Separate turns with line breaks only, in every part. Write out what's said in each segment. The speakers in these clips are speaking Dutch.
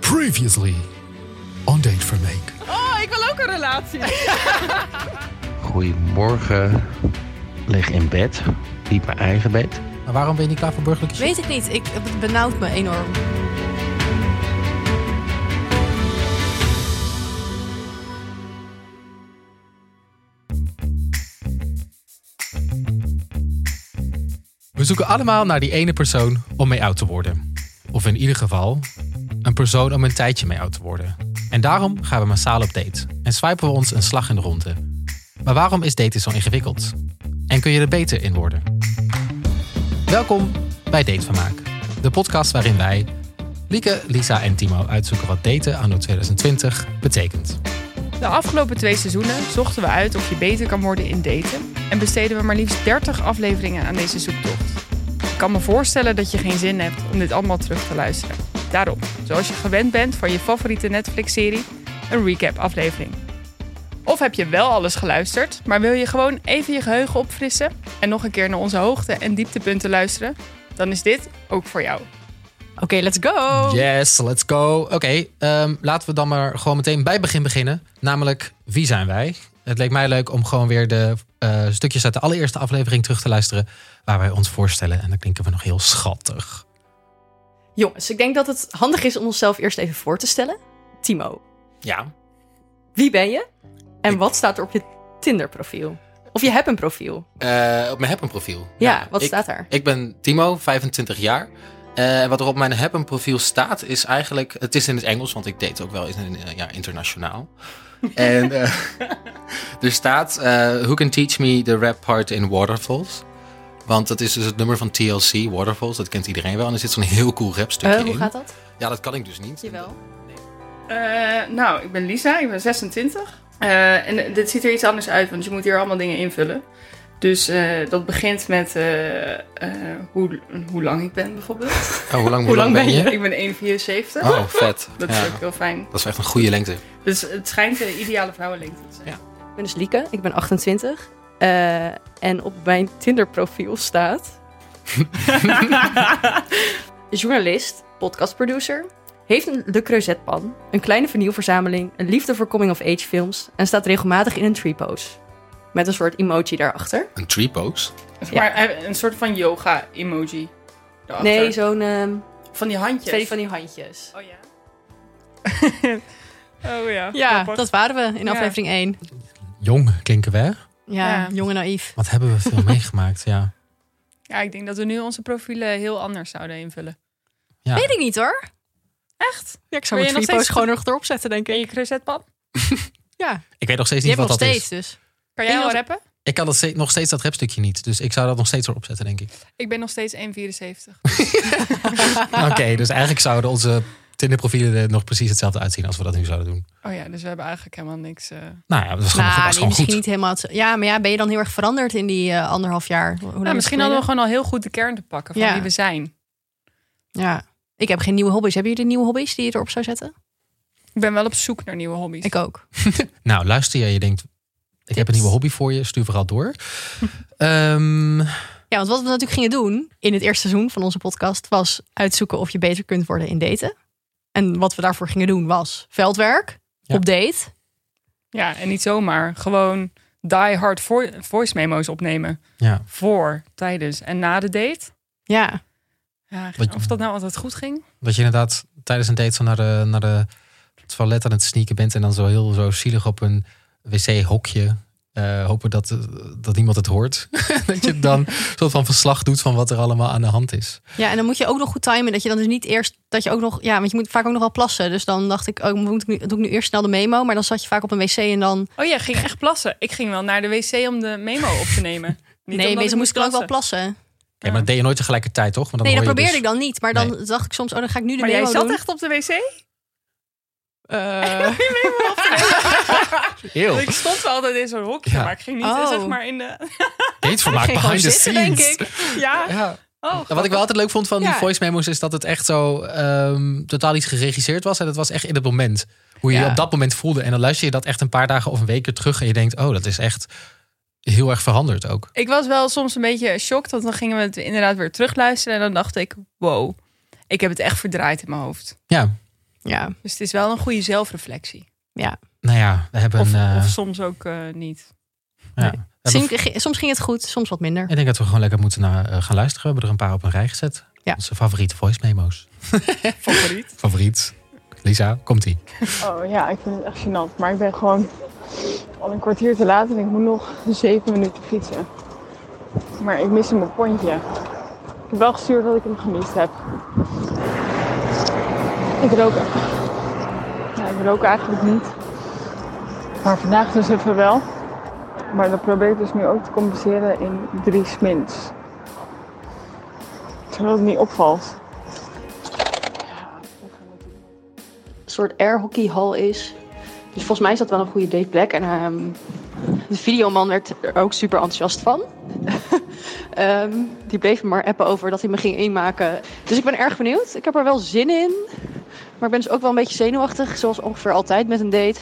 Previously on Date Vermeek.
Oh, ik wil ook een relatie.
Goedemorgen. Lig in bed. Niet mijn eigen bed.
Maar waarom ben je niet klaar voor burgerlijke shit?
Weet ik niet. Ik, het benauwt me enorm.
We zoeken allemaal naar die ene persoon om mee oud te worden. Of in ieder geval, een persoon om een tijdje mee oud te worden. En daarom gaan we massaal op date en swipen we ons een slag in de ronde. Maar waarom is daten zo ingewikkeld? En kun je er beter in worden? Welkom bij Datevermaak, de podcast waarin wij, Lieke, Lisa en Timo, uitzoeken wat daten anno 2020 betekent.
De afgelopen twee seizoenen zochten we uit of je beter kan worden in daten. En besteden we maar liefst 30 afleveringen aan deze zoektocht. Ik kan me voorstellen dat je geen zin hebt om dit allemaal terug te luisteren. Daarom, zoals je gewend bent van je favoriete Netflix-serie, een recap-aflevering. Of heb je wel alles geluisterd, maar wil je gewoon even je geheugen opfrissen en nog een keer naar onze hoogte- en dieptepunten luisteren? Dan is dit ook voor jou.
Oké, let's go.
Yes, let's go. Oké, ehm, laten we dan maar gewoon meteen bij het begin beginnen. Namelijk, wie zijn wij? Het leek mij leuk om gewoon weer de eh, stukjes uit de allereerste aflevering terug te luisteren. Waar wij ons voorstellen. En dan klinken we nog heel schattig.
Jongens, ik denk dat het handig is om onszelf eerst even voor te stellen. Timo,
Ja.
wie ben je? En
Ik-
wat staat er op je Tinder-profiel? Of je hebt een profiel.
Eh, op mijn Happen profiel.
Ja, wat staat daar?
Nou, Ik ben Timo, 25 jaar. Eh, En wat er op mijn Happen profiel staat is eigenlijk... Het is in het Engels, want ik date ook wel in, ja, internationaal. en eh, Er staat eh, Who Can Teach Me the Rap Part in Waterfalls. Want dat is dus het nummer van TLC, Waterfalls. Dat kent iedereen wel. En er zit zo'n heel cool rapstukje
Eh, hoe
in.
gaat dat?
Ja, dat kan ik dus niet.
Eh, nou, ik ben Lisa, ik ben 26. Eh, en dit ziet er iets anders uit, want je moet hier allemaal dingen invullen. Dus eh, dat begint met eh, eh, hoe, hoe lang ik ben bijvoorbeeld.
Oh, hoe lang, hoe lang ben je?
Ik ben 1,74.
Oh, vet.
Dat
Ja,
is ook heel fijn.
dat is echt een goede lengte.
Dus het schijnt de ideale vrouwenlengte te zijn.
Ja.
Ik ben dus Lieke, ik ben 28. Eh, en op mijn Tinder-profiel staat... journalist, podcastproducer, heeft een Le Creuset-pan, een kleine vinylverzameling, een liefde voor coming-of-age films en staat regelmatig in een tree-pose. Met een soort emoji daarachter.
Een tree pose?
Zeg Maar eh, een soort van yoga-emoji. daarachter.
Nee, zo'n ehm,
Van die handjes.
twee van die handjes.
Oh ja. oh ja.
Ja, dat waren we in
Ja.
aflevering 1.
Jong klinken we, hè?
Ja,
Ja.
jong en naïef.
Wat hebben we veel meegemaakt, ja.
Ja, ik denk dat we nu onze profielen heel anders zouden invullen.
ja.
Weet ik niet hoor.
Echt?
Ja,
Wil
ik zou
je nog
mijn tree-pose
steeds-
gewoon nog erop zetten, denk
Ken
ik.
je cruzetpan?
Ja,
Ik weet nog steeds
die
niet
hebben
wat
nog
dat
steeds
is.
dus.
Kan jij
Ik
al
was-
rappen?
Ik kan dat steeds, nog steeds dat rapstukje niet. Dus ik zou dat nog steeds erop zetten, denk ik.
Ik ben nog steeds 1,74.
Oké, dus eigenlijk zouden onze Tinder profielen er nog precies hetzelfde uitzien als we dat nu zouden doen.
Oh ja, dus we hebben eigenlijk helemaal niks. eh.
Nou ja, dat is gewoon,
Nou,
dat is
nee,
gewoon
misschien
goed.
niet helemaal. het- Ja, maar ja, ben je dan heel erg veranderd in die eh, anderhalf jaar? Hoe- hoe lang
Nou,
is
misschien
het
hadden we
geleden?
gewoon al heel goed de kern te pakken van
Ja.
wie we zijn.
Ja. Ik heb geen nieuwe hobby's. Hebben jullie nieuwe hobby's die je erop zou zetten?
Ik ben wel op zoek naar nieuwe hobby's.
Ik ook.
Nou, luister je, je denkt, ik heb een nieuwe hobby voor je, stuur vooral door. Ehm,
Ja, want wat we natuurlijk gingen doen in het eerste seizoen van onze podcast was uitzoeken of je beter kunt worden in daten. En wat we daarvoor gingen doen was veldwerk,
Ja.
op date.
Ja, en niet zomaar. Gewoon die hard vo- voice memo's opnemen.
ja,
Voor, tijdens en na de date.
Ja,
Ja,
Wat-
of dat nou altijd goed ging.
dat je inderdaad tijdens een date zo naar de, naar de toilet aan het sneaken bent en dan zo heel zo zielig op een wc-hokje. eh, hopen dat, eh, dat niemand het hoort. dat je dan een soort van verslag doet van wat er allemaal aan de hand is.
Ja, en dan moet je ook nog goed timen. Dat je dan dus niet eerst. Dat je ook nog. Ja, want je moet vaak ook nog wel plassen. Dus dan dacht ik, oh, moet ik nu, doe ik nu eerst snel de memo. Maar dan zat je vaak op een wc en dan.
Oh ja, ging echt plassen. Ik ging wel naar de wc om de memo op te nemen. Niet
nee,
omdat
meestal moest ik dan ook wel plassen.
Ja, maar dat deed je nooit tegelijkertijd, toch? Want dan
Nee, dat
hoor je
probeerde ik
dus-
dan niet. Maar dan dacht ik soms, oh, dan ga ik nu de
Maar
memo
jij zat
doen.
echt op de wc?
Eh,
Eeuw,
Ik stond wel altijd in zo'n hokje,
Ja.
maar ik ging niet eh,
Oh.
zeg maar in de...
datevermaak
ging gewoon
behind the
zitten, denk
scenes.
ik.
Ja,
Ja.
oh,
Ja, Wat ik wel altijd leuk vond van die
Ja.
voice memos is dat het echt zo ehm, totaal niet geregisseerd was. En het was echt in het moment. Hoe je je
Ja.
op dat moment voelde. En dan luister je dat echt een paar dagen of een week weer terug. En je denkt, oh, dat is echt heel erg veranderd ook.
Ik was wel soms een beetje shocked, want dan gingen we het inderdaad weer terugluisteren. En dan dacht ik, wow, ik heb het echt verdraaid in mijn hoofd.
Ja, Ja,
Dus het is wel een goede zelfreflectie.
Nou ja, we hebben...
Of,
eh,
of soms ook eh, niet.
ja,
nee.
we hebben
Soms ging- soms ging het goed, soms wat minder.
Ik denk dat we gewoon lekker moeten naar, eh, gaan luisteren. We hebben er een paar op een rij gezet.
Ja.
Onze favoriete voice memo's.
Favoriet.
Favoriet. Lisa, komt ie.
Oh ja, ik vind het echt gênant. Maar ik ben gewoon al een kwartier te laat en ik moet nog zeven minuten fietsen. Maar ik mis mijn pontje. Ik heb wel gestuurd dat ik hem gemist heb. Ik rook, ja, ik rook eigenlijk niet. Maar vandaag dus even wel. Maar dat probeer ik dus nu ook te compenseren in drie smins. Zodat het niet opvalt.
een soort airhockeyhal is. Dus volgens mij is dat wel een goede dateplek. En ehm, de videoman werd er ook super enthousiast van. Ehm, die bleef me maar appen over dat hij me ging inmaken. Dus ik ben erg benieuwd. Ik heb er wel zin in. Maar ik ben dus ook wel een beetje zenuwachtig, zoals ongeveer altijd met een date.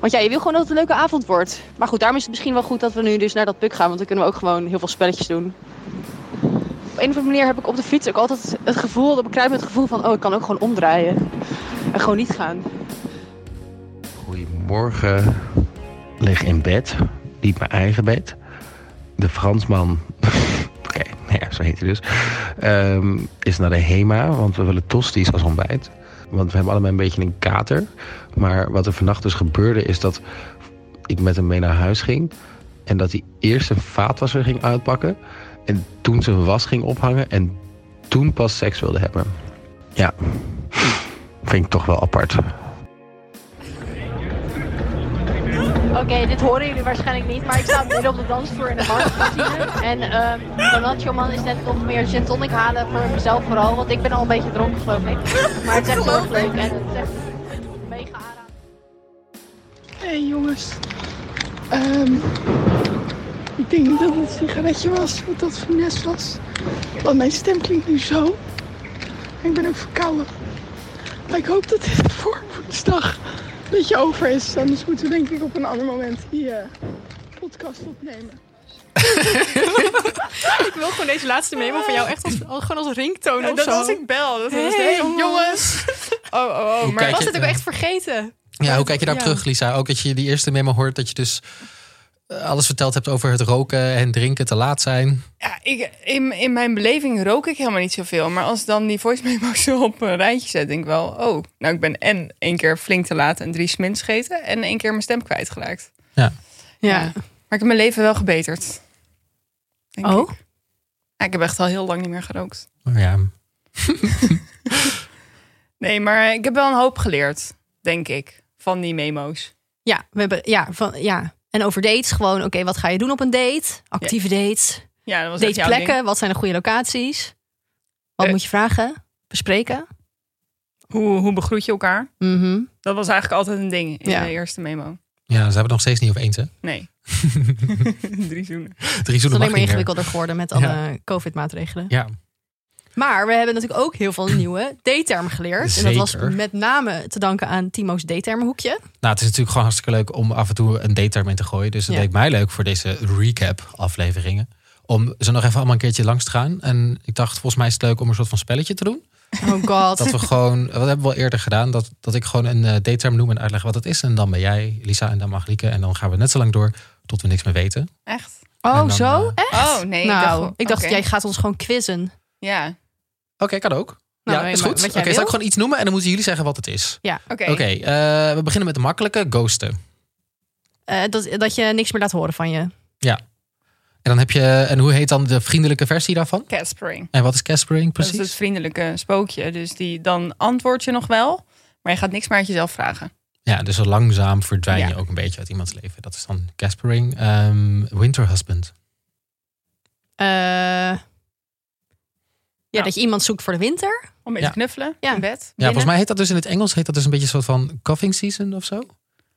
Want ja, je wil gewoon dat het een leuke avond wordt. Maar goed, daarom is het misschien wel goed dat we nu dus naar dat puk gaan. Want dan kunnen we ook gewoon heel veel spelletjes doen. Op een of andere manier heb ik op de fiets ook altijd het gevoel, dat bekruipt het gevoel van... oh, ik kan ook gewoon omdraaien en gewoon niet gaan.
Goedemorgen. Lig in bed. Niet mijn eigen bed. De Fransman. Oké, nou ja, zo heet hij dus. Ehm, is naar de HEMA, want we willen tosti's als ontbijt. Want we hebben allemaal een beetje een kater. Maar wat er vannacht dus gebeurde, is dat ik met hem mee naar huis ging. En dat hij eerst een vaatwasser ging uitpakken. En toen zijn was ging ophangen. En toen pas seks wilde hebben. Ja, vind ik toch wel apart.
Oké, dit horen jullie waarschijnlijk niet, maar ik sta midden op de dansvloer in de marktcantine. En ehm Donatio man is net nog meer gin tonic halen voor mezelf vooral, want ik ben al een beetje dronken geloof ik. Maar het is echt heel erg leuk en het is echt mega aanrader.
hey, jongens. Ehm, ik denk niet dat het een sigaretje was, want dat finesse was. Want mijn stem klinkt nu zo. En ik ben ook verkouden. Maar ik hoop dat dit voor woensdag een beetje over is. Anders moeten we denk ik op een ander moment die eh, podcast opnemen.
Ik wil gewoon deze laatste memo van jou echt als, al- gewoon als ringtoon
Ja,
of
dat
zo.
was ik bel. Dat was
Hey,
hey, jongens. Oh, oh, oh.
Hoe
Maar
kijk
was
je-
het ook echt vergeten.
Ja, hoe kijk je daar
Ja.
terug, Lisa? Ook dat je die eerste memo hoort dat je dus eh, alles verteld hebt over het roken en drinken, te laat zijn.
Ja, ik, in, in mijn beleving rook ik helemaal niet zoveel. Maar als dan die voice memo's zo op een rijtje zet, denk ik wel... Oh, nou ik ben en één keer flink te laat en drie smins gegeten... en één keer mijn stem kwijtgeraakt.
Ja.
Ja. Maar ik heb mijn leven wel gebeterd. Denk
Oh?
Ik. Ja, ik heb echt al heel lang niet meer gerookt.
Maar ja,
Nee, maar ik heb wel een hoop geleerd, denk ik, van die memo's.
Ja, we hebben, ja, van, ja. En over dates gewoon, oké, wat ga je doen op een date? Actieve dates,
Ja, dat was echt jouw ding.
dateplekken, wat zijn de goede locaties? Wat
Eh.
moet je vragen? Bespreken?
Hoe, hoe begroet je elkaar?
Mhm.
Dat was eigenlijk altijd een ding in
Ja.
de eerste memo.
ja, ze hebben het nog steeds niet over eens, hè?
Nee. Drie zoenen.
Het
Drie
is
zoenen
alleen
mag
maar
niet meer.
ingewikkelder geworden met alle COVID-maatregelen.
Ja,
Maar we hebben natuurlijk ook heel veel nieuwe D-termen geleerd. En dat
Zeker.
was met name te danken aan Timo's D-termenhoekje.
nou, het is natuurlijk gewoon hartstikke leuk om af en toe een date in te gooien. Dus het
Ja.
leek mij leuk voor deze recap-afleveringen. Om ze nog even allemaal een keertje langs te gaan. En ik dacht, volgens mij is het leuk om een soort van spelletje te doen.
Oh god.
Dat we gewoon, wat hebben we al eerder gedaan, dat, dat ik gewoon een eh dateterm noem en uitleg wat het is. En dan ben jij, Lisa en dan Maglieke. En dan gaan we net zo lang door tot we niks meer weten.
Echt?
En
Oh,
dan,
zo?
eh,
Echt?
Oh, nee, ik
Nou,
dacht-
ik dacht, dat
oké.
jij gaat ons gewoon quizzen.
Ja.
Oké, kan ook.
Nou,
ja,
nee,
is
maar
goed.
wat
Oké,
jij
zal ik
wil?
gewoon iets noemen en dan moeten jullie zeggen wat het is.
Oké.
Oké, eh, we beginnen met de makkelijke, ghosten.
Eh, dat, dat je niks meer laat horen van je.
En dan heb je, en hoe heet dan de vriendelijke versie daarvan?
Caspering.
En wat is caspering
Dat is
precies?
het vriendelijke spookje. Dus die, dan antwoord je nog wel, maar je gaat niks meer uit jezelf vragen.
Ja, dus zo langzaam verdwijn je
Ja.
ook een beetje uit iemands leven. Dat is dan caspering. Ehm, winter husband.
Eh, ja, dat je iemand zoekt voor de winter.
Om mee
Ja.
te knuffelen
Ja.
in bed.
Ja,
binnen.
volgens mij heet dat dus in het Engels heet dat dus een beetje een soort van coughing season of zo.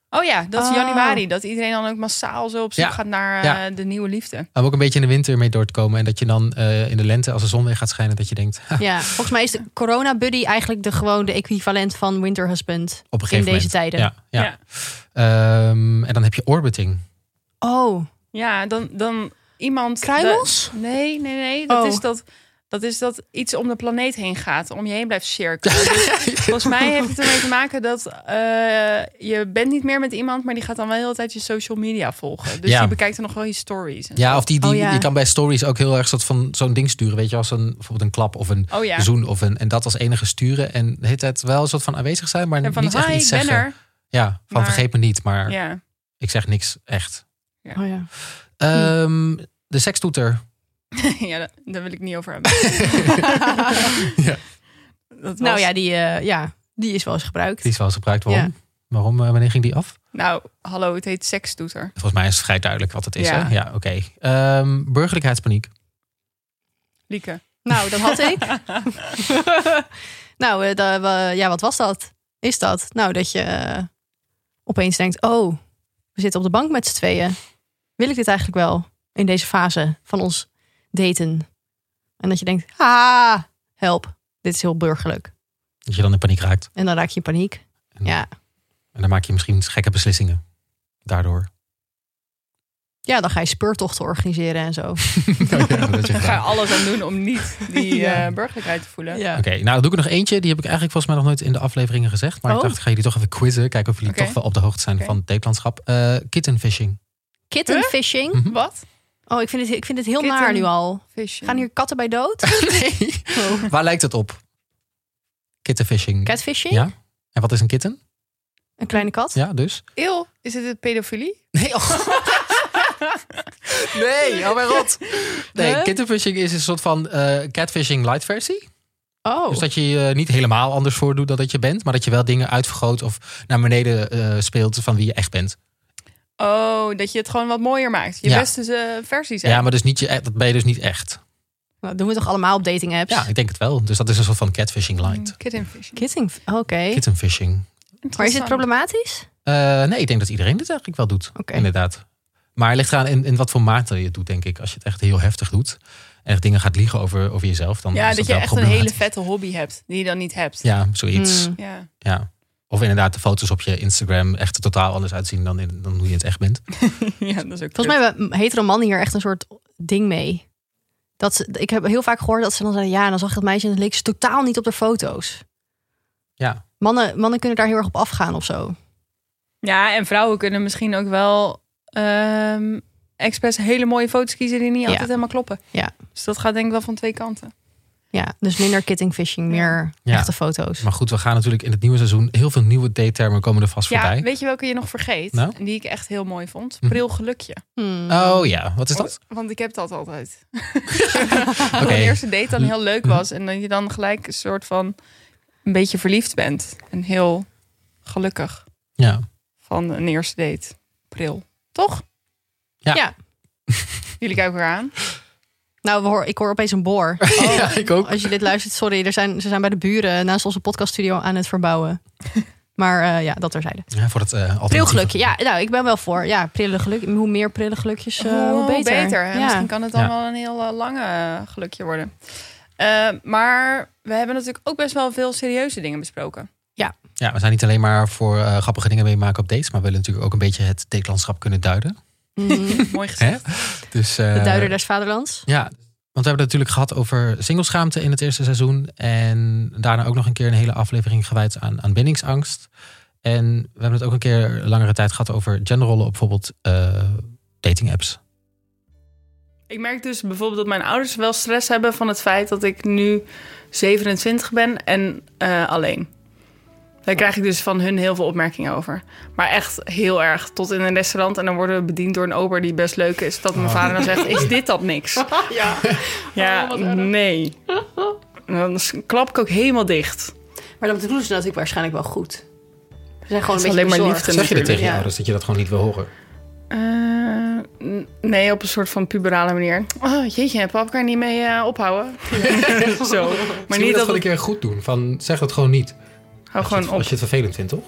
Oh ja, dat is
Oh.
januari. Dat iedereen dan ook massaal zo op zoek
Ah. Ja.
gaat naar
Ja.
eh, de nieuwe liefde.
Om ook een beetje in de winter mee door te komen. En dat je dan eh, in de lente, als de zon weer gaat schijnen, dat je denkt, ha,
Ja, volgens mij is de corona buddy eigenlijk de, gewoon de equivalent van winter husband.
op
In
een gegeven
deze
moment.
tijden.
Ja, ja. Ehm, en dan heb je orbiting.
Oh,
Ja, dan, dan iemand...
kruimels?
Nee, nee, nee. Dat
Oh.
is dat, Dat is dat iets om de planeet heen gaat, om je heen blijft cirkelen. Dus volgens mij heeft het ermee te maken dat eh, je bent niet meer met iemand, maar die gaat dan wel de hele tijd je social media volgen. Dus
Ja.
die bekijkt er nog wel je stories. en
Ja,
zo.
of die, die,
Oh, ja.
je kan bij stories ook heel erg soort van zo'n ding sturen. Weet je, als een, bijvoorbeeld een klap of een
Oh ja.
zoen of een. En dat als enige sturen. En de hele tijd wel een soort van aanwezig zijn, maar
En van,
niet echt
hi,
iets
ik ben
zeggen.
er.
Ja, van
maar-
vergeet me niet, maar
Ja.
ik zeg niks echt.
Oh ja.
Hm.
Ehm, de sekstoeter.
ja, dat- daar wil ik niet over hebben.
Ja.
Dat was-
Nou ja die, eh, ja, die is wel eens gebruikt.
Die is wel eens gebruikt. Waarom? Waarom? eh, wanneer ging die af?
Nou, hallo, het heet sekstoeter.
Volgens mij is het vrij duidelijk wat het is.
Ja.
Ja, ja oké. Ehm, burgerlijkheidspaniek.
Lieke.
Nou, dat had ik. nou, eh, da- wa- ja, wat was dat? Is dat? Nou, dat je eh, opeens denkt: oh, we zitten op de bank met z'n tweeën. Wil ik dit eigenlijk wel in deze fase van ons daten? En dat je denkt: ah, help, dit is heel burgerlijk.
Dat je dan in paniek raakt.
En dan raak je in paniek.
En-
Ja,
En dan maak je misschien gekke beslissingen. Daardoor.
ja dan ga je speurtochten organiseren en zo.
Oh, Dat je
Daar ga je
graag-
alles aan doen om niet die
Ja.
eh, burgerlijkheid te voelen.
Ja.
Oké, nou doe ik er nog eentje. Die heb ik eigenlijk volgens mij nog nooit in de afleveringen gezegd. Maar
Oh.
ik dacht, ik ga jullie toch even quizzen. Kijken of jullie
Oké.
toch wel op de hoogte zijn
Oké.
van het datelandschap. Eh, kittenfishing.
Kittenfishing.
Hm?
Wat?
Oh, ik vind het, ik vind het heel
Kitten.
naar nu al.
Visje.
Gaan hier katten bij dood?
nee. Waar lijkt het op? Kittenfishing.
Catfishing?
Ja. En wat is een kitten?
Een kleine kat?
Ja, dus?
Eeuw, is het een pedofilie?
Nee, oh. nee, oh mijn god. Nee,
Huh?
kittenfishing is een soort van eh, catfishing light versie.
Oh,
Dus dat je je niet helemaal anders voordoet dan dat je bent, maar dat je wel dingen uitvergroot of naar beneden eh, speelt van wie je echt bent.
Oh, dat je het gewoon wat mooier maakt. Je
Ja.
beste eh, versie
Ja,
zijn.
maar dus niet je, dat ben je dus niet echt.
Nou, doen we toch allemaal op dating apps?
Ja, ik denk het wel. Dus dat is een soort van catfishing
Hmm.
light.
Kitten fishing.
Kitting. oh, Oké.
Kittenfishing.
Maar is het
Interessant.
problematisch?
Eh, nee, ik denk dat iedereen dit eigenlijk wel doet.
Oké.
Inderdaad. Maar het ligt eraan in, in wat voor mate je het doet, denk ik. Als je het echt heel heftig doet en echt dingen gaat liegen over, over jezelf, dan
Ja,
is
dat,
dat
je
wel
echt een hele
problematisch.
vette hobby hebt die je dan niet hebt.
Ja, zoiets.
Hmm.
Ja.
Ja. Of inderdaad de foto's op je Instagram echt totaal anders uitzien dan, in, dan hoe je het echt bent.
Ja, dat is ook
Volgens mij hebben hetero mannen hier echt een soort ding mee. Dat ze, ik heb heel vaak gehoord dat ze dan zeiden... ja, en dan zag ik het meisje en dan leek ze totaal niet op de foto's.
Ja.
Mannen, mannen kunnen daar heel erg op afgaan of zo.
Ja, en vrouwen kunnen misschien ook wel ehm expres hele mooie foto's kiezen die niet
Ja.
altijd helemaal kloppen.
Ja.
Dus dat gaat denk ik wel van twee kanten.
Ja, dus minder kittingfishing, meer
Ja.
echte foto's.
Maar goed, we gaan natuurlijk in het nieuwe seizoen heel veel nieuwe date-termen komen er vast
Ja,
voorbij.
weet je welke je nog vergeet?
Nou?
En Die ik echt heel mooi vond.
Hm.
Pril gelukje.
Hmm.
Oh ja, wat is dat?
Want ik heb dat altijd.
Oké.
Dat de eerste date dan heel leuk was en dat je dan gelijk een soort van een beetje verliefd bent. En heel gelukkig
Ja.
van een eerste date. Pril. Toch?
Ja.
Ja.
Jullie kijken elkaar aan.
Nou, we hoor, ik hoor opeens een boor.
ja, ik ook.
Als je dit luistert, sorry, er zijn, ze zijn bij de buren naast onze podcaststudio aan het verbouwen. Maar eh, ja, dat terzijde.
Ja, voor dat eh alternatieve-
Prilgelukje, ja, nou, ik ben wel voor. Ja, prille geluk, hoe meer prille gelukjes, eh, hoe beter.
hè?
Ja.
Misschien kan het dan
Ja.
wel een heel eh, lange eh, gelukje worden. Eh, maar we hebben natuurlijk ook best wel veel serieuze dingen besproken.
Ja, we zijn niet alleen maar voor eh, grappige dingen meemaken op dates, maar we willen natuurlijk ook een beetje het datelandschap kunnen duiden.
Mhm.
Mooi gezegd.
Dus, eh,
De duider des vaderlands.
Ja, want we hebben het natuurlijk gehad over singleschaamte in het eerste seizoen. En daarna ook nog een keer een hele aflevering gewijd aan, aan bindingsangst. En we hebben het ook een keer langere tijd gehad over genderrollen op bijvoorbeeld eh dating apps.
Ik merk dus bijvoorbeeld dat mijn ouders wel stress hebben van het feit dat ik nu 27 ben en eh, alleen. Daar krijg ik dus van hun heel veel opmerkingen over. Maar echt heel erg. Tot in een restaurant en dan worden we bediend door een ober die best leuk is. Dat mijn vader dan zegt, is dit dat niks? Ah. Ja, ja nee. En dan s- klap ik ook helemaal dicht.
Maar dat doen ze natuurlijk waarschijnlijk wel goed. Ze zijn gewoon
Het is alleen maar liefde
Zeg je dit tegen je
ja.
ouders, dat je dat gewoon niet wil horen?
Eh, n- nee, op een soort van puberale manier. Oh, jeetje, pap, kan je niet mee eh, ophouden? Zo. Maar niet dat...
wel een
het-
keer goed doen, van zeg dat gewoon niet.
Hou gewoon op.
Als je het vervelend vindt, toch?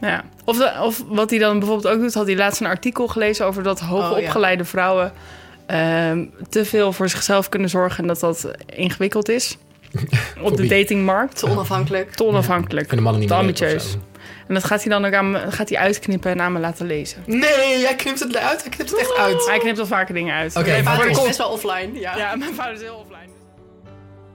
Ja. Of, de- of wat hij dan bijvoorbeeld ook doet, had hij laatst een artikel gelezen over dat
Oh,
hoogopgeleide vrouwen ehm, te veel voor zichzelf kunnen zorgen en dat dat ingewikkeld is. Op de
wie?
datingmarkt.
Te onafhankelijk.
Te onafhankelijk.
Kunnen mannen niet
te
meer
ambitieus. En dat gaat hij dan ook aan me, gaat hij uitknippen en aan me laten lezen.
Nee, jij knipt het uit. Hij knipt het echt uit.
Hij knipt al vaker dingen uit.
Oké,
Mijn vader is-
best wel offline,
ja, mijn vader is heel offline.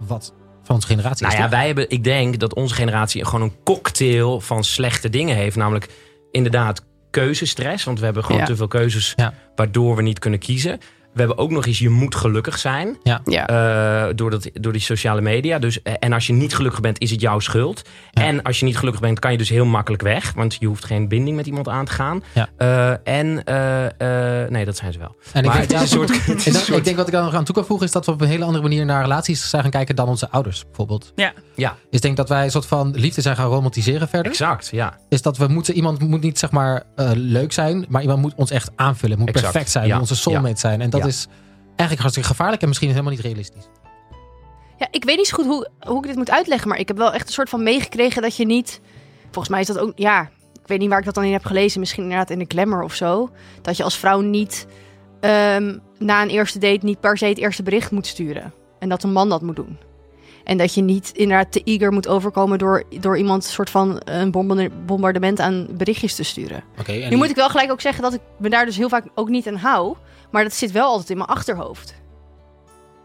wat van onze generatie
Nou
is.
ja,
toch?
wij hebben, ik denk dat onze generatie gewoon een cocktail van slechte dingen heeft. Namelijk inderdaad keuzestress. Want we hebben gewoon
Ja.
te veel keuzes
Ja.
waardoor we niet kunnen kiezen. We hebben ook nog eens, je moet gelukkig zijn.
Ja.
eh, door, dat, door die sociale media. Dus, eh, en als je niet gelukkig bent, is het jouw schuld.
Ja.
En als je niet gelukkig bent, kan je dus heel makkelijk weg. Want je hoeft geen binding met iemand aan te gaan.
Ja.
Eh, en, eh, eh, nee, dat zijn ze wel.
en ik
maar
denk,
het is een
daarom-
soort... het is
en
een
dat-
soort-
ik denk wat ik daar nog aan toe kan voegen is dat we op een hele andere manier naar relaties zijn gaan kijken dan onze ouders bijvoorbeeld.
Ja.
Ja.
Dus ik denk dat wij een soort van liefde zijn gaan romantiseren verder.
Exact, ja.
Is dat we moeten, iemand moet niet zeg maar eh, leuk zijn, maar iemand moet ons echt aanvullen. Moet
Exact,
perfect zijn,
ja.
moet onze soulmate zijn. En dat
Ja.
is eigenlijk hartstikke gevaarlijk en misschien helemaal niet realistisch.
Ja, ik weet niet zo goed hoe, hoe ik dit moet uitleggen, maar ik heb wel echt een soort van meegekregen dat je niet. Volgens mij is dat ook. Ja, ik weet niet waar ik dat dan in heb gelezen. Misschien inderdaad in de Glamour of zo. Dat je als vrouw niet ehm, na een eerste date niet per se het eerste bericht moet sturen. En dat een man dat moet doen. En dat je niet inderdaad te eager moet overkomen door, door iemand een soort van een bombarde- bombardement aan berichtjes te sturen.
Oké. en
Nu moet ik wel gelijk ook zeggen dat ik me daar dus heel vaak ook niet aan hou. Maar dat zit wel altijd in mijn achterhoofd.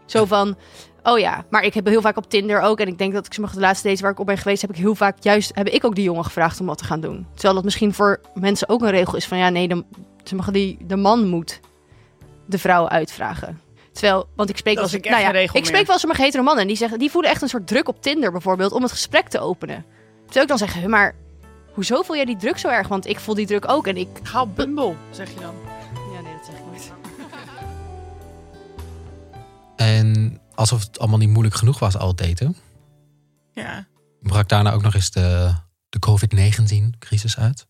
Zo van, oh ja, maar ik heb heel vaak op Tinder ook. En ik denk dat ik sommige de laatste dates waar ik op ben geweest... heb ik heel vaak juist, heb ik ook die jongen gevraagd om wat te gaan doen. Terwijl dat misschien voor mensen ook een regel is van... ja, nee, de, sommige die, de man moet de vrouw uitvragen. Terwijl, want ik spreek
Dat
wel
vind ik
nou
echt
ja,
een regel
ik spreek
meer.
wel sommige hetero mannen en die zeggen, die voelen echt een soort druk op Tinder bijvoorbeeld om het gesprek te openen. Terwijl ik dan zeg, "Huh, maar hoezo voel jij die druk zo erg? Want ik voel die druk ook en ik
Ga op Bumble, zeg je dan.
ja, nee, dat zeg ik nooit.
En alsof het allemaal niet moeilijk genoeg was al daten,
Ja.
brak daarna ook nog eens de, de COVID-19-crisis uit.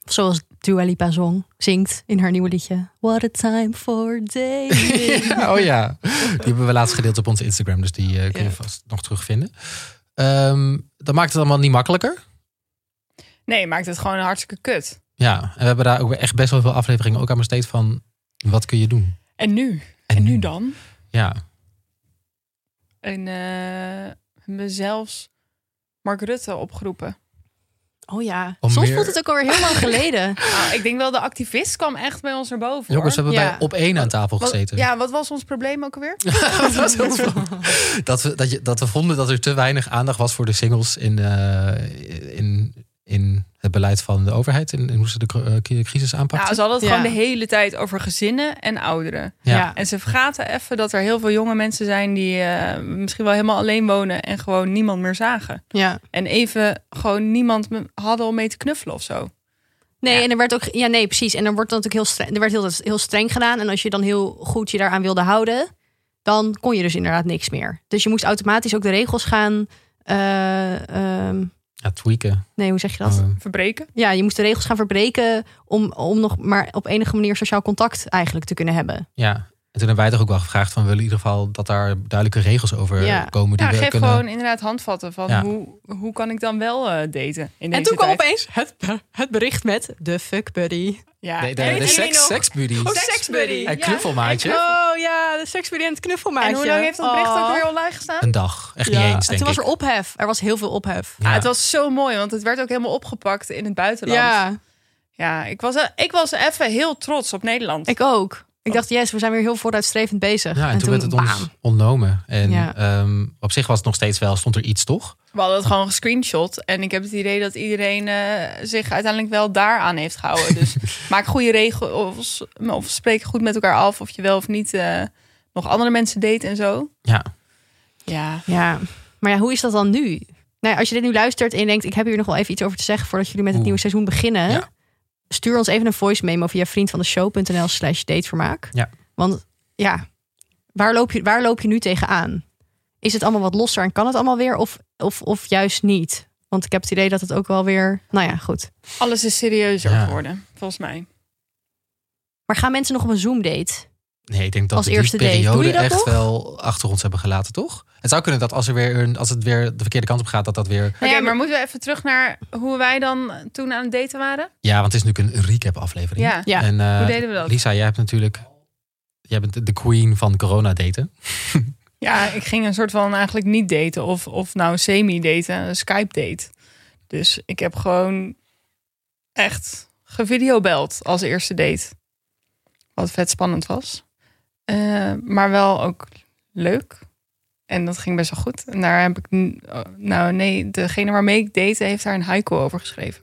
Zoals Dua Lipa zong, zingt in haar nieuwe liedje. What a time for dating.
Ja, oh ja, die hebben we laatst gedeeld op onze Instagram, dus die eh, kun je
Ja.
vast nog terugvinden. Ehm, dat maakt het allemaal niet makkelijker.
Nee, maakt het gewoon hartstikke kut.
Ja, en we hebben daar ook weer echt best wel veel afleveringen ook aan besteed van wat kun je doen.
En nu? En nu dan?
Ja,
En eh hebben we zelfs Mark Rutte opgeroepen.
Oh ja,
Om
soms
meer-
voelt het ook alweer heel lang geleden.
Ah, ik denk wel, de activist kwam echt bij ons naar boven. hoor.
jongens, we hebben
Ja.
bij op één aan tafel
Wat-
gezeten.
Ja, wat was ons probleem ook alweer?
dat, was heel spannend. dat, we, dat, je, dat we vonden dat er te weinig aandacht was voor de singles in, eh, in, in het beleid van de overheid. En hoe ze de cro- eh, crisis
Nou,
aanpakten.
ze hadden het
Ja.
gewoon de hele tijd over gezinnen en ouderen.
Ja.
En ze vergaten even dat er heel veel jonge mensen zijn die eh, misschien wel helemaal alleen wonen en gewoon niemand meer zagen.
ja.
En even gewoon niemand me- hadden om mee te knuffelen of zo.
Nee, en er werd ook. Ja, nee, precies. En dan wordt dan natuurlijk heel streng. Er werd heel, heel streng gedaan. En als je dan heel goed je daaraan wilde houden, dan kon je dus inderdaad niks meer. Dus je moest automatisch ook de regels gaan. eh, ehm,
Ja, tweaken.
nee, hoe zeg je dat?
Eh,
Verbreken.
Ja, je moest de regels gaan verbreken om, om nog maar op enige manier sociaal contact eigenlijk te kunnen hebben.
ja. En toen hebben wij toch ook wel gevraagd van... we willen in ieder geval dat daar duidelijke regels over
Ja.
komen. Die
Ja,
we
geef
kunnen...
gewoon inderdaad handvatten van
Ja.
hoe, hoe kan ik dan wel eh, daten in deze
En toen kwam
tijd.
opeens het, het bericht met de fuck buddy.
Ja.
Nee, de,
En
de
jullie
seks,
nog-
seksbuddy.
Oh, seksbuddy.
en
Ja.
knuffelmaatje.
Oh ja, de seksbuddy en het knuffelmaatje.
En hoe lang heeft dat bericht
Oh.
ook weer online gestaan?
Een dag. Echt niet
Ja,
eens,
en
denk
toen was
ik.
er ophef. Er was heel veel ophef.
Ja.
Ah, het was zo mooi, want het werd ook helemaal opgepakt in het buitenland.
Ja,
Ja, ik was, eh, ik was even heel trots op Nederland.
ik ook. Ik dacht, yes, we zijn weer heel vooruitstrevend bezig.
Oh. Ja, en, toen, werd het
bam.
ons ontnomen. En
Ja.
ehm, op zich was het nog steeds wel, stond er iets toch?
We hadden het gewoon gescreenshot. En ik heb het idee dat iedereen eh, zich uiteindelijk wel daaraan heeft gehouden. Dus maak goede regels. Of spreek goed met elkaar af of je wel of niet eh, nog andere mensen date en zo.
Ja.
Ja.
Ja, maar ja, hoe is dat dan nu? Nou ja, als je dit nu luistert en je denkt, ik heb hier nog wel even iets over te zeggen voordat jullie met het
Oeh.
nieuwe seizoen beginnen.
Ja.
Stuur ons even een voice memo via vriendvandeshow.nl slash datevermaak.
Ja.
Want ja, waar loop, je, waar loop je nu tegenaan? Is het allemaal wat losser en kan het allemaal weer? Of, of, of juist niet? Want ik heb het idee dat het ook wel weer, nou ja, goed.
Alles is serieuzer
Ja.
geworden, volgens mij.
Maar gaan mensen nog op een Zoom date?
Nee, ik denk dat
Als
we die
eerste date.
periode
Doe je dat
echt
nog?
wel achter ons hebben gelaten, toch? Het zou kunnen dat als, er weer een, als het weer de verkeerde kant op gaat, dat dat weer...
Oké, maar moeten we even terug naar hoe wij dan toen aan het daten waren?
Ja, want het is natuurlijk een recap aflevering.
Ja.
Ja.
En, eh,
Hoe deden we dat?
Lisa, jij hebt natuurlijk... Jij bent de queen van corona daten.
Ja, ik ging een soort van eigenlijk niet daten. Of, of nou semi-daten, een Skype-date. Dus ik heb gewoon echt gevideobeld als eerste date. Wat vet spannend was. Eh, maar wel ook leuk. En dat ging best wel goed. En daar heb ik... n- oh, Nou nee, degene waarmee ik date heeft daar een haiku over geschreven.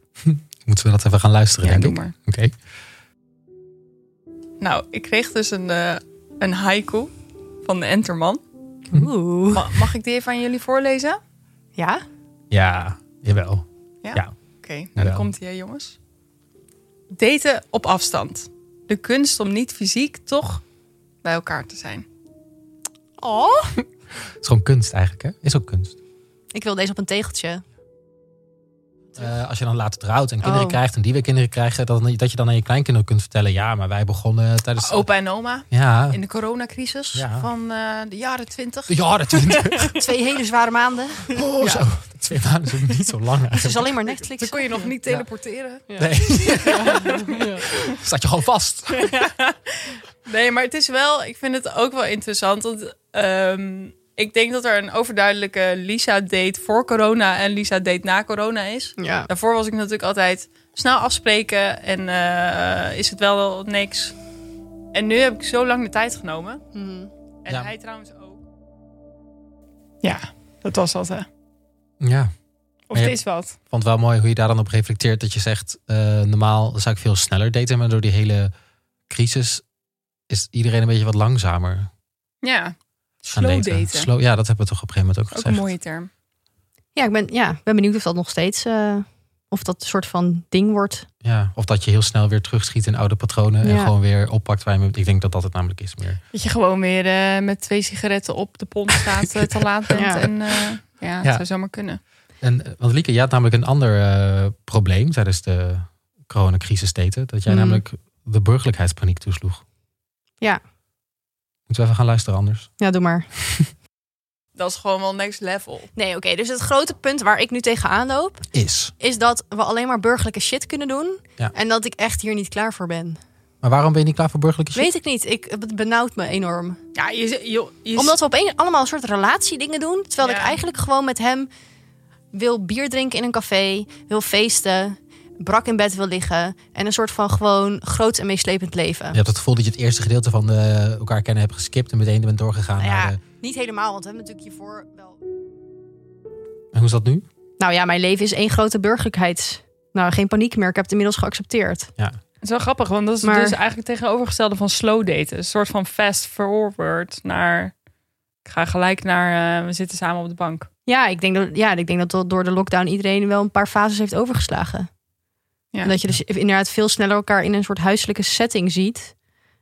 Moeten we dat even gaan luisteren,
Ja,
denk
doe
ik.
maar.
Oké.
Nou, ik kreeg dus een, eh, een haiku van de Enterman.
Hm.
Oeh.
Ma- mag ik die even aan jullie voorlezen? Oké,
Ja?
Ja, jawel.
nou
Ja.
dan komt hij, jongens. Daten op afstand. De kunst om niet fysiek toch bij elkaar te zijn.
Oh.
Het is gewoon kunst eigenlijk, hè? Is ook kunst.
Ik wil deze op een tegeltje.
Eh, als je dan later trouwt en kinderen
Oh.
krijgt en die weer kinderen krijgen, dat, dat je dan aan je kleinkinderen kunt vertellen: ja, maar wij begonnen tijdens.
Opa en oma
Ja.
in de coronacrisis
Ja.
van eh, de jaren twintig.
Ja, dat vind ik.
Twee hele zware maanden.
Oh, zo. Twee maanden is ook niet zo lang.
Het is
eigenlijk.
alleen maar Netflix.
Toen kon je nog niet teleporteren.
Nee. Staat je gewoon vast.
Nee, maar het is wel, ik vind het ook wel interessant. Want ehm, ik denk dat er een overduidelijke Lisa-date voor corona en Lisa-date na corona is.
Ja.
Daarvoor was ik natuurlijk altijd snel afspreken en eh, is het wel niks. En nu heb ik zo lang de tijd genomen.
Mhm.
En
Ja.
hij trouwens ook. Ja, dat was dat hè.
Ja.
Of
Ja.
het is wat.
vond het wel mooi hoe je daar dan op reflecteert. Dat je zegt, eh, normaal zou ik veel sneller daten. Maar door die hele crisis is iedereen een beetje wat langzamer gaan
Ja, slow
daten.
daten.
Slow, ja, dat hebben we toch op een gegeven moment ook
Ook een
gezegd.
mooie term.
Ja, ik ben, ja, ben benieuwd of dat nog steeds... eh, of dat een soort van ding wordt.
Ja, of dat je heel snel weer terugschiet in oude patronen. En
Ja.
gewoon weer oppakt waar je mee- Ik denk dat dat het namelijk is meer.
Dat je gewoon weer eh, met twee sigaretten op de pomp staat eh, te laat bent.
Ja.
En eh, ja, het
Ja.
zou zomaar kunnen.
En, eh, want Lieke, jij had namelijk een ander eh, probleem tijdens de coronacrisis daten. Dat jij
Mhm.
namelijk de burgerlijkheidspaniek toesloeg.
Ja.
Moeten we even gaan luisteren anders?
Ja, doe maar.
Dat is gewoon wel next level.
Nee, oké. dus het grote punt waar ik nu tegenaan loop...
Is.
is dat we alleen maar burgerlijke shit kunnen doen.
Ja.
En dat ik echt hier niet klaar voor ben.
Maar waarom ben je niet klaar voor burgerlijke shit?
Weet ik niet. Ik, het benauwt me enorm.
Ja, je, z- je, je
Omdat we opeens allemaal een soort relatiedingen doen. Terwijl ik
Ja.
eigenlijk gewoon met hem wil bier drinken in een café. Wil feesten. Brak in bed wil liggen. En een soort van gewoon groot en meeslepend leven.
Je hebt het gevoel dat je het eerste gedeelte van eh, elkaar kennen hebt geskipt en meteen bent doorgegaan.
Nou
Naar eh,
ja,
de-
niet helemaal. Want we hebben natuurlijk hiervoor wel...
En hoe is dat nu?
Nou ja, mijn leven is één grote burgerlijkheid. Nou, geen paniek meer. Ik heb het inmiddels geaccepteerd.
Het is wel grappig, want dat is
Maar-
dus eigenlijk het tegenovergestelde van slow daten. Een soort van fast forward naar... Ik ga gelijk naar... eh, we zitten samen op de bank.
Ja, ik denk dat, ja, ik denk dat do- door de lockdown iedereen wel een paar fases heeft overgeslagen.
Ja.
En dat je dus inderdaad veel sneller elkaar in een soort huiselijke setting ziet.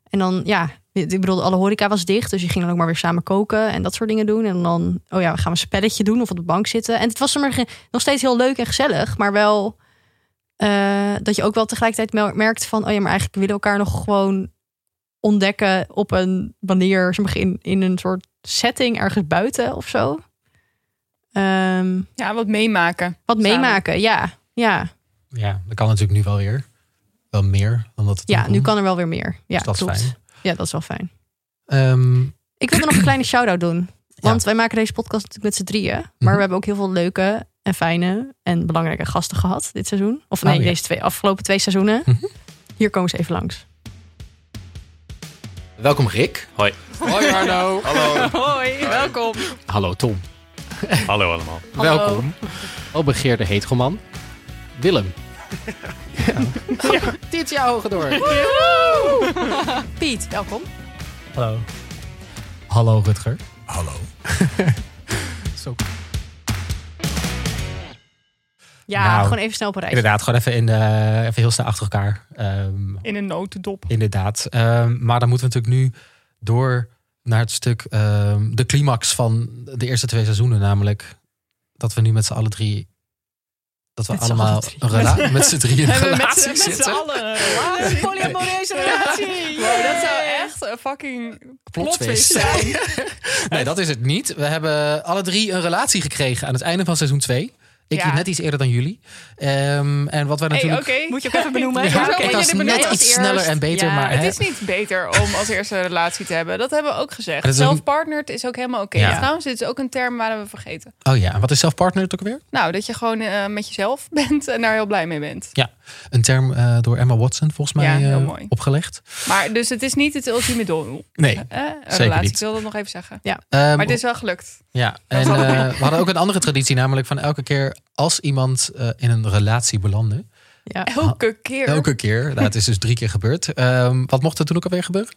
En dan, ja, ik bedoel, alle horeca was dicht. Dus je ging dan ook maar weer samen koken en dat soort dingen doen. En dan, oh ja, we gaan een spelletje doen of op de bank zitten. En het was maar ge- nog steeds heel leuk en gezellig. Maar wel eh, dat je ook wel tegelijkertijd mel- merkt van... oh ja, maar eigenlijk willen we elkaar nog gewoon ontdekken... op een manier, zeg maar, in, in een soort setting ergens buiten of zo. Ehm,
Ja, wat meemaken.
wat
Samen.
meemaken, ja. Ja,
Ja, dat kan natuurlijk nu wel weer. Wel meer dan dat het toen
ja nu
kon.
kan er wel weer meer. Ja,
Dus dat Mhm. is
klopt.
fijn.
Ja, dat is wel fijn.
Ehm,
Ik wilde nog een kleine shout-out doen. Want wij maken deze podcast natuurlijk met z'n drieën. Maar
Mhm.
we hebben ook heel veel leuke en fijne en belangrijke gasten gehad dit seizoen. Of nee,
Oh, ja.
deze twee, afgelopen twee seizoenen.
Mhm.
Hier komen ze even langs.
Welkom Rick. Hoi.
Hoi Arno.
Hallo.
Hoi, welkom.
Hallo Tom.
Hallo allemaal.
Hallo.
Welkom.
Albegeerde Heetgelman. Willem. Dit jaar ogen door.
Piet, welkom.
Hallo. Hallo Rutger.
Hallo.
Zo.
Ja,
Nou,
gewoon even snel op een rijtje.
Inderdaad, gewoon even, in, eh, even heel snel achter elkaar. Ehm,
In een notendop.
Inderdaad. Ehm, maar dan moeten we natuurlijk nu door naar het stuk, ehm, de climax van de eerste twee seizoenen. Namelijk dat we nu met z'n allen drie. Dat we
Met z'n
allemaal
allen drie.
een rela- met z'n drieën in een
Hebben we met,
relatie
met z'n
zitten.
allen een relatie.
Polyamoreuze
relatie. Wow, dat zou echt een fucking
Plotwist.
plotwist zijn.
nee, dat is het niet. We hebben alle drie een relatie gekregen aan het einde van seizoen 2. Ik
Ja.
liep net iets eerder dan jullie. Ehm, en wat wij
Hey, oké.
natuurlijk.
Moet je ook even benoemen.
Ja,
Hoezo
oké,
moet je
dat is
dit
net
benoemen?
als
iets
eerst?
sneller en beter.
Ja,
maar
Het
hè,
is niet beter om als eerste een relatie te hebben. Dat hebben we ook gezegd.
Dat is een-
Zelfpartnered is ook helemaal oké.
Ja.
Trouwens, dit is ook een term waar we vergeten.
Oh ja, en wat is zelfpartner ook weer?
Nou, dat je gewoon eh, met jezelf bent en daar heel blij mee bent.
Een term eh, door Emma Watson volgens
Ja,
mij
heel
eh,
mooi.
opgelegd.
Maar dus het is niet het ultieme doel.
Nee.
hè? Een
Zeker
relatie,
niet.
ik wil dat nog even zeggen.
Ehm,
Maar het is wel gelukt.
Ja, en eh, we hadden ook een andere traditie, namelijk van elke keer als iemand eh, in een relatie belandde.
Ja.
Elke keer.
Ah, Elke keer, nou, het is dus drie keer gebeurd. Ehm, wat mocht er toen ook alweer gebeuren?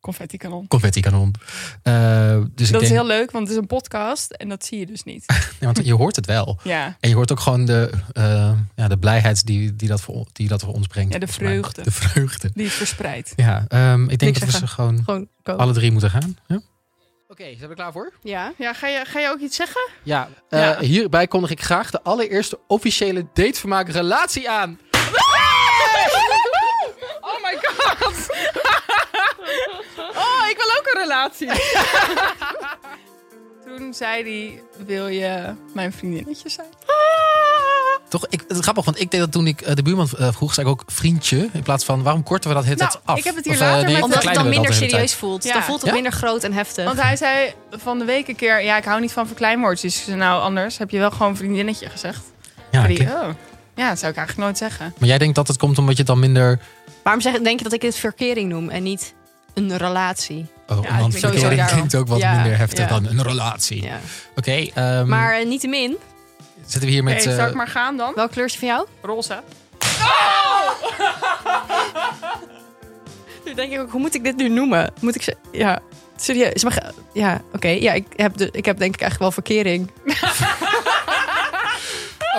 Confetti kanon.
Confetti kanon. Eh, dus ik
dat
denk,
is heel leuk, want het is een podcast en dat zie je dus niet.
nee, want je hoort het wel.
Ja,
En je hoort ook gewoon de, eh, ja, de blijheid die, die, dat voor, die dat voor ons brengt.
Ja, de
volgens mij.
vreugde.
De vreugde.
die het verspreidt.
Ja, ehm, ik denk
Niks
dat we ze
zeggen.
gewoon
Gewoon komen.
alle drie moeten gaan. Ja?
Oké, zijn we klaar voor?
Ja.
Ja, ga je, ga je ook iets zeggen?
Ja,
Ja.
eh, hierbij kondig ik graag de allereerste officiële datevermaak relatie aan.
Oh my god! Oh, ik wil ook een relatie. Toen zei hij, wil je mijn vriendinnetje zijn?
Toch, ik, het is grappig, want ik deed dat toen ik eh, de buurman eh, vroeg, zei ik ook vriendje. In plaats van, waarom korten we dat het
Nou,
tijd af?
ik heb het hier
eh,
later met-
Omdat het
verkleinen
dan
we
minder
de hele tijd.
serieus voelt.
Ja.
Dan voelt het
Ja?
minder groot en heftig.
Want hij zei van de week een keer, ja, ik hou niet van verkleinwoordjes. Ik zei, nou, anders heb je wel gewoon vriendinnetje gezegd.
Ja,
Zei
Ah, oké.
hij, oh. ja, dat zou ik eigenlijk nooit zeggen.
Maar jij denkt dat het komt omdat je het dan minder...
Waarom zeg, denk je dat ik dit verkering noem en niet een relatie?
Oh,
Ja,
een
het klinkt sowieso
handverkering
daarom.
klinkt ook wat
Ja,
minder heftig
ja.
dan een relatie.
Ja.
Oké, ehm,
Maar eh, niettemin,
zitten we hier met...
hey, zou
eh,
ik maar gaan dan?
welk kleurtje van jou?
Roze.
Nu denk ik ook, hoe moet ik dit nu noemen? Moet ik ze... Ja, serieus. Maar, ge- ja, oké. Ja, ik heb, de, ik heb denk ik eigenlijk wel verkering.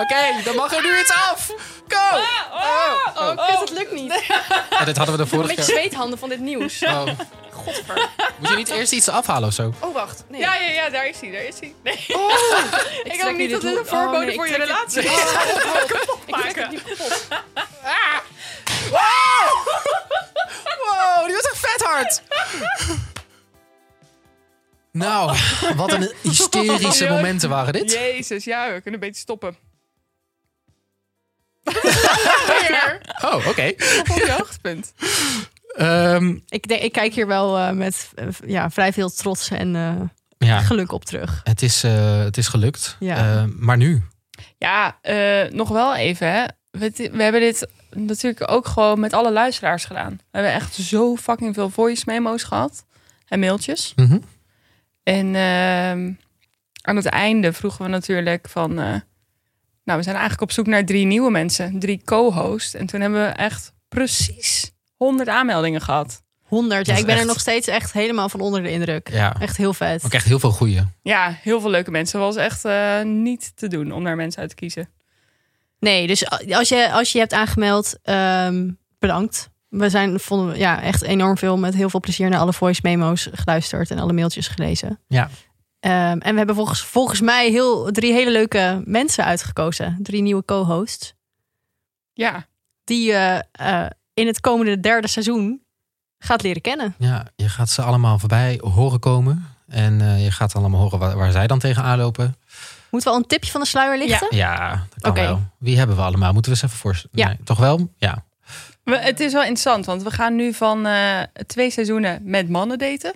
Oké, dan mag er nu iets af. Go!
Oh, het lukt niet.
oh, Ah! dit hadden we de vorige keer.
zweethanden van dit nieuws.
Oh. Moet je niet eerst iets afhalen of zo?
Oh, wacht. Nee.
Ja, ja, ja, daar is hij, daar is hij. Nee, ik
trek
hoop
nu
niet dat
dit
dit een
ho- oh,
voorbode
nee, ik
voor je
trek het-
relatie is. Ah.
Ik heb
maken.
niet kapot.
Oh.
Wow, die was echt vet hard. Nou, wat een hysterische
Jurk.
momenten waren dit.
Jezus, ja, we kunnen beter stoppen.
Oh, oké.
Op je hoogtepunt.
Ehm,
Ik, denk, ik kijk hier wel eh, met eh, ja, vrij veel trots en eh,
ja,
geluk op terug.
het is, eh, het is gelukt.
Ja.
Eh, maar nu?
Ja, eh, nog wel even. Hè. We, we hebben dit natuurlijk ook gewoon met alle luisteraars gedaan. We hebben echt zo fucking veel voice memo's gehad. En mailtjes.
Mhm.
En ehm, aan het einde vroegen we natuurlijk van... eh, nou, we zijn eigenlijk op zoek naar drie nieuwe mensen. Drie co-hosts. En toen hebben we echt precies 100 aanmeldingen gehad.
100. Ja,
Dat is
ik ben er
echt-
nog steeds echt helemaal van onder de indruk.
Ja,
Echt heel vet.
ook echt heel veel goeie.
Ja, heel veel leuke mensen. was echt eh, niet te doen om daar mensen uit te kiezen.
Nee, dus als je als je je hebt aangemeld, ehm, bedankt. We zijn vonden, we- ja, echt enorm veel met heel veel plezier naar alle voice memo's geluisterd en alle mailtjes gelezen.
Ja.
Ehm, en we hebben volgens, volgens mij heel, drie hele leuke mensen uitgekozen. Drie nieuwe co-hosts.
Ja,
Die je eh, in het komende derde seizoen gaat leren kennen.
Ja, je gaat ze allemaal voorbij horen komen. En eh, je gaat allemaal horen waar, waar zij dan tegenaan lopen.
Moeten we al een tipje van de sluier lichten?
Ja, dat kan
Oké.
wel. Wie hebben we allemaal? Moeten we eens even voorstellen?
Ja.
Nee, toch wel? Ja.
We- het is wel interessant, want we gaan nu van eh, twee seizoenen met mannen daten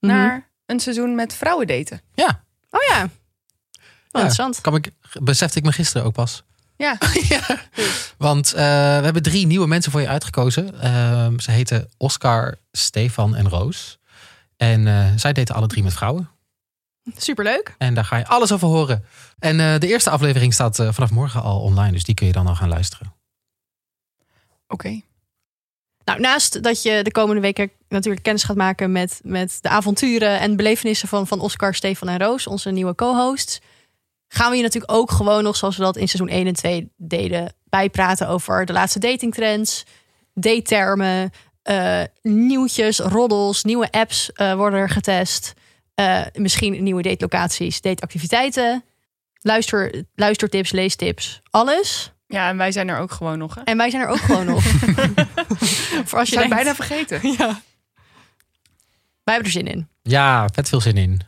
Mhm.
naar een seizoen met vrouwen daten.
Ja,
Oh ja. Wel
Ja.
Interessant.
kan ik, besefte ik me gisteren ook pas.
Ja,
Want eh, we hebben drie nieuwe mensen voor je uitgekozen. Ehm, ze heten Oscar, Stefan en Roos. En eh, zij daten alle drie met vrouwen.
Superleuk.
En daar ga je alles over horen. En eh, de eerste aflevering staat eh, vanaf morgen al online. Dus die kun je dan al gaan luisteren.
oké.
Nou, naast dat je de komende weken natuurlijk kennis gaat maken met, met de avonturen en belevenissen van, van Oscar, Stefan en Roos, onze nieuwe co-hosts, gaan we je natuurlijk ook gewoon nog, zoals we dat in seizoen 1 en 2 deden, bijpraten over de laatste datingtrends, datetermen, eh, nieuwtjes, roddels, nieuwe apps eh, worden er getest, eh, misschien nieuwe datelocaties, dateactiviteiten, luister, luistertips, leestips, alles.
Ja, en wij zijn er ook gewoon nog. Hè?
En wij zijn er ook gewoon nog. Voor als
We
je
zijn
denkt-
bijna vergeten. Ja.
Wij hebben er zin in.
Ja, vet veel zin in.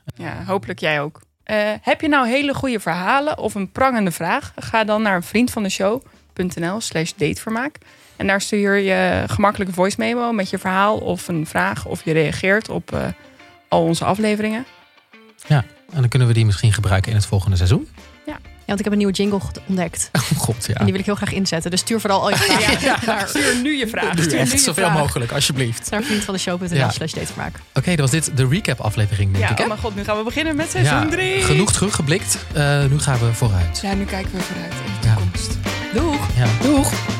hopelijk jij ook. Eh, heb je nou hele goede verhalen of een prangende vraag? Ga dan naar vriendvandeshow.nl slash datevermaak. En daar stuur je gemakkelijk een voice memo met je verhaal of een vraag. Of je reageert op eh, al onze afleveringen.
En dan kunnen we die misschien gebruiken in het volgende seizoen.
want ik heb een nieuwe jingle ge- ontdekt.
Oh god, ja.
En die wil ik heel graag inzetten. Dus stuur vooral al je vragen naar,
Stuur nu je vraag.
Doe
stuur nu
echt
je
zoveel
vraag.
mogelijk, alsjeblieft.
naar vriendvandeshow.nl
Ja.
slash datevermaak.
Oké, dan was dit de recap-aflevering, denk
Ja,
ik, hè?
oh mijn god, nu gaan we beginnen met seizoen 3.
Genoeg teruggeblikt. Eh, nu gaan we vooruit.
Ja, nu kijken we vooruit in de
Ja.
toekomst.
Doeg!
Ja. Doeg!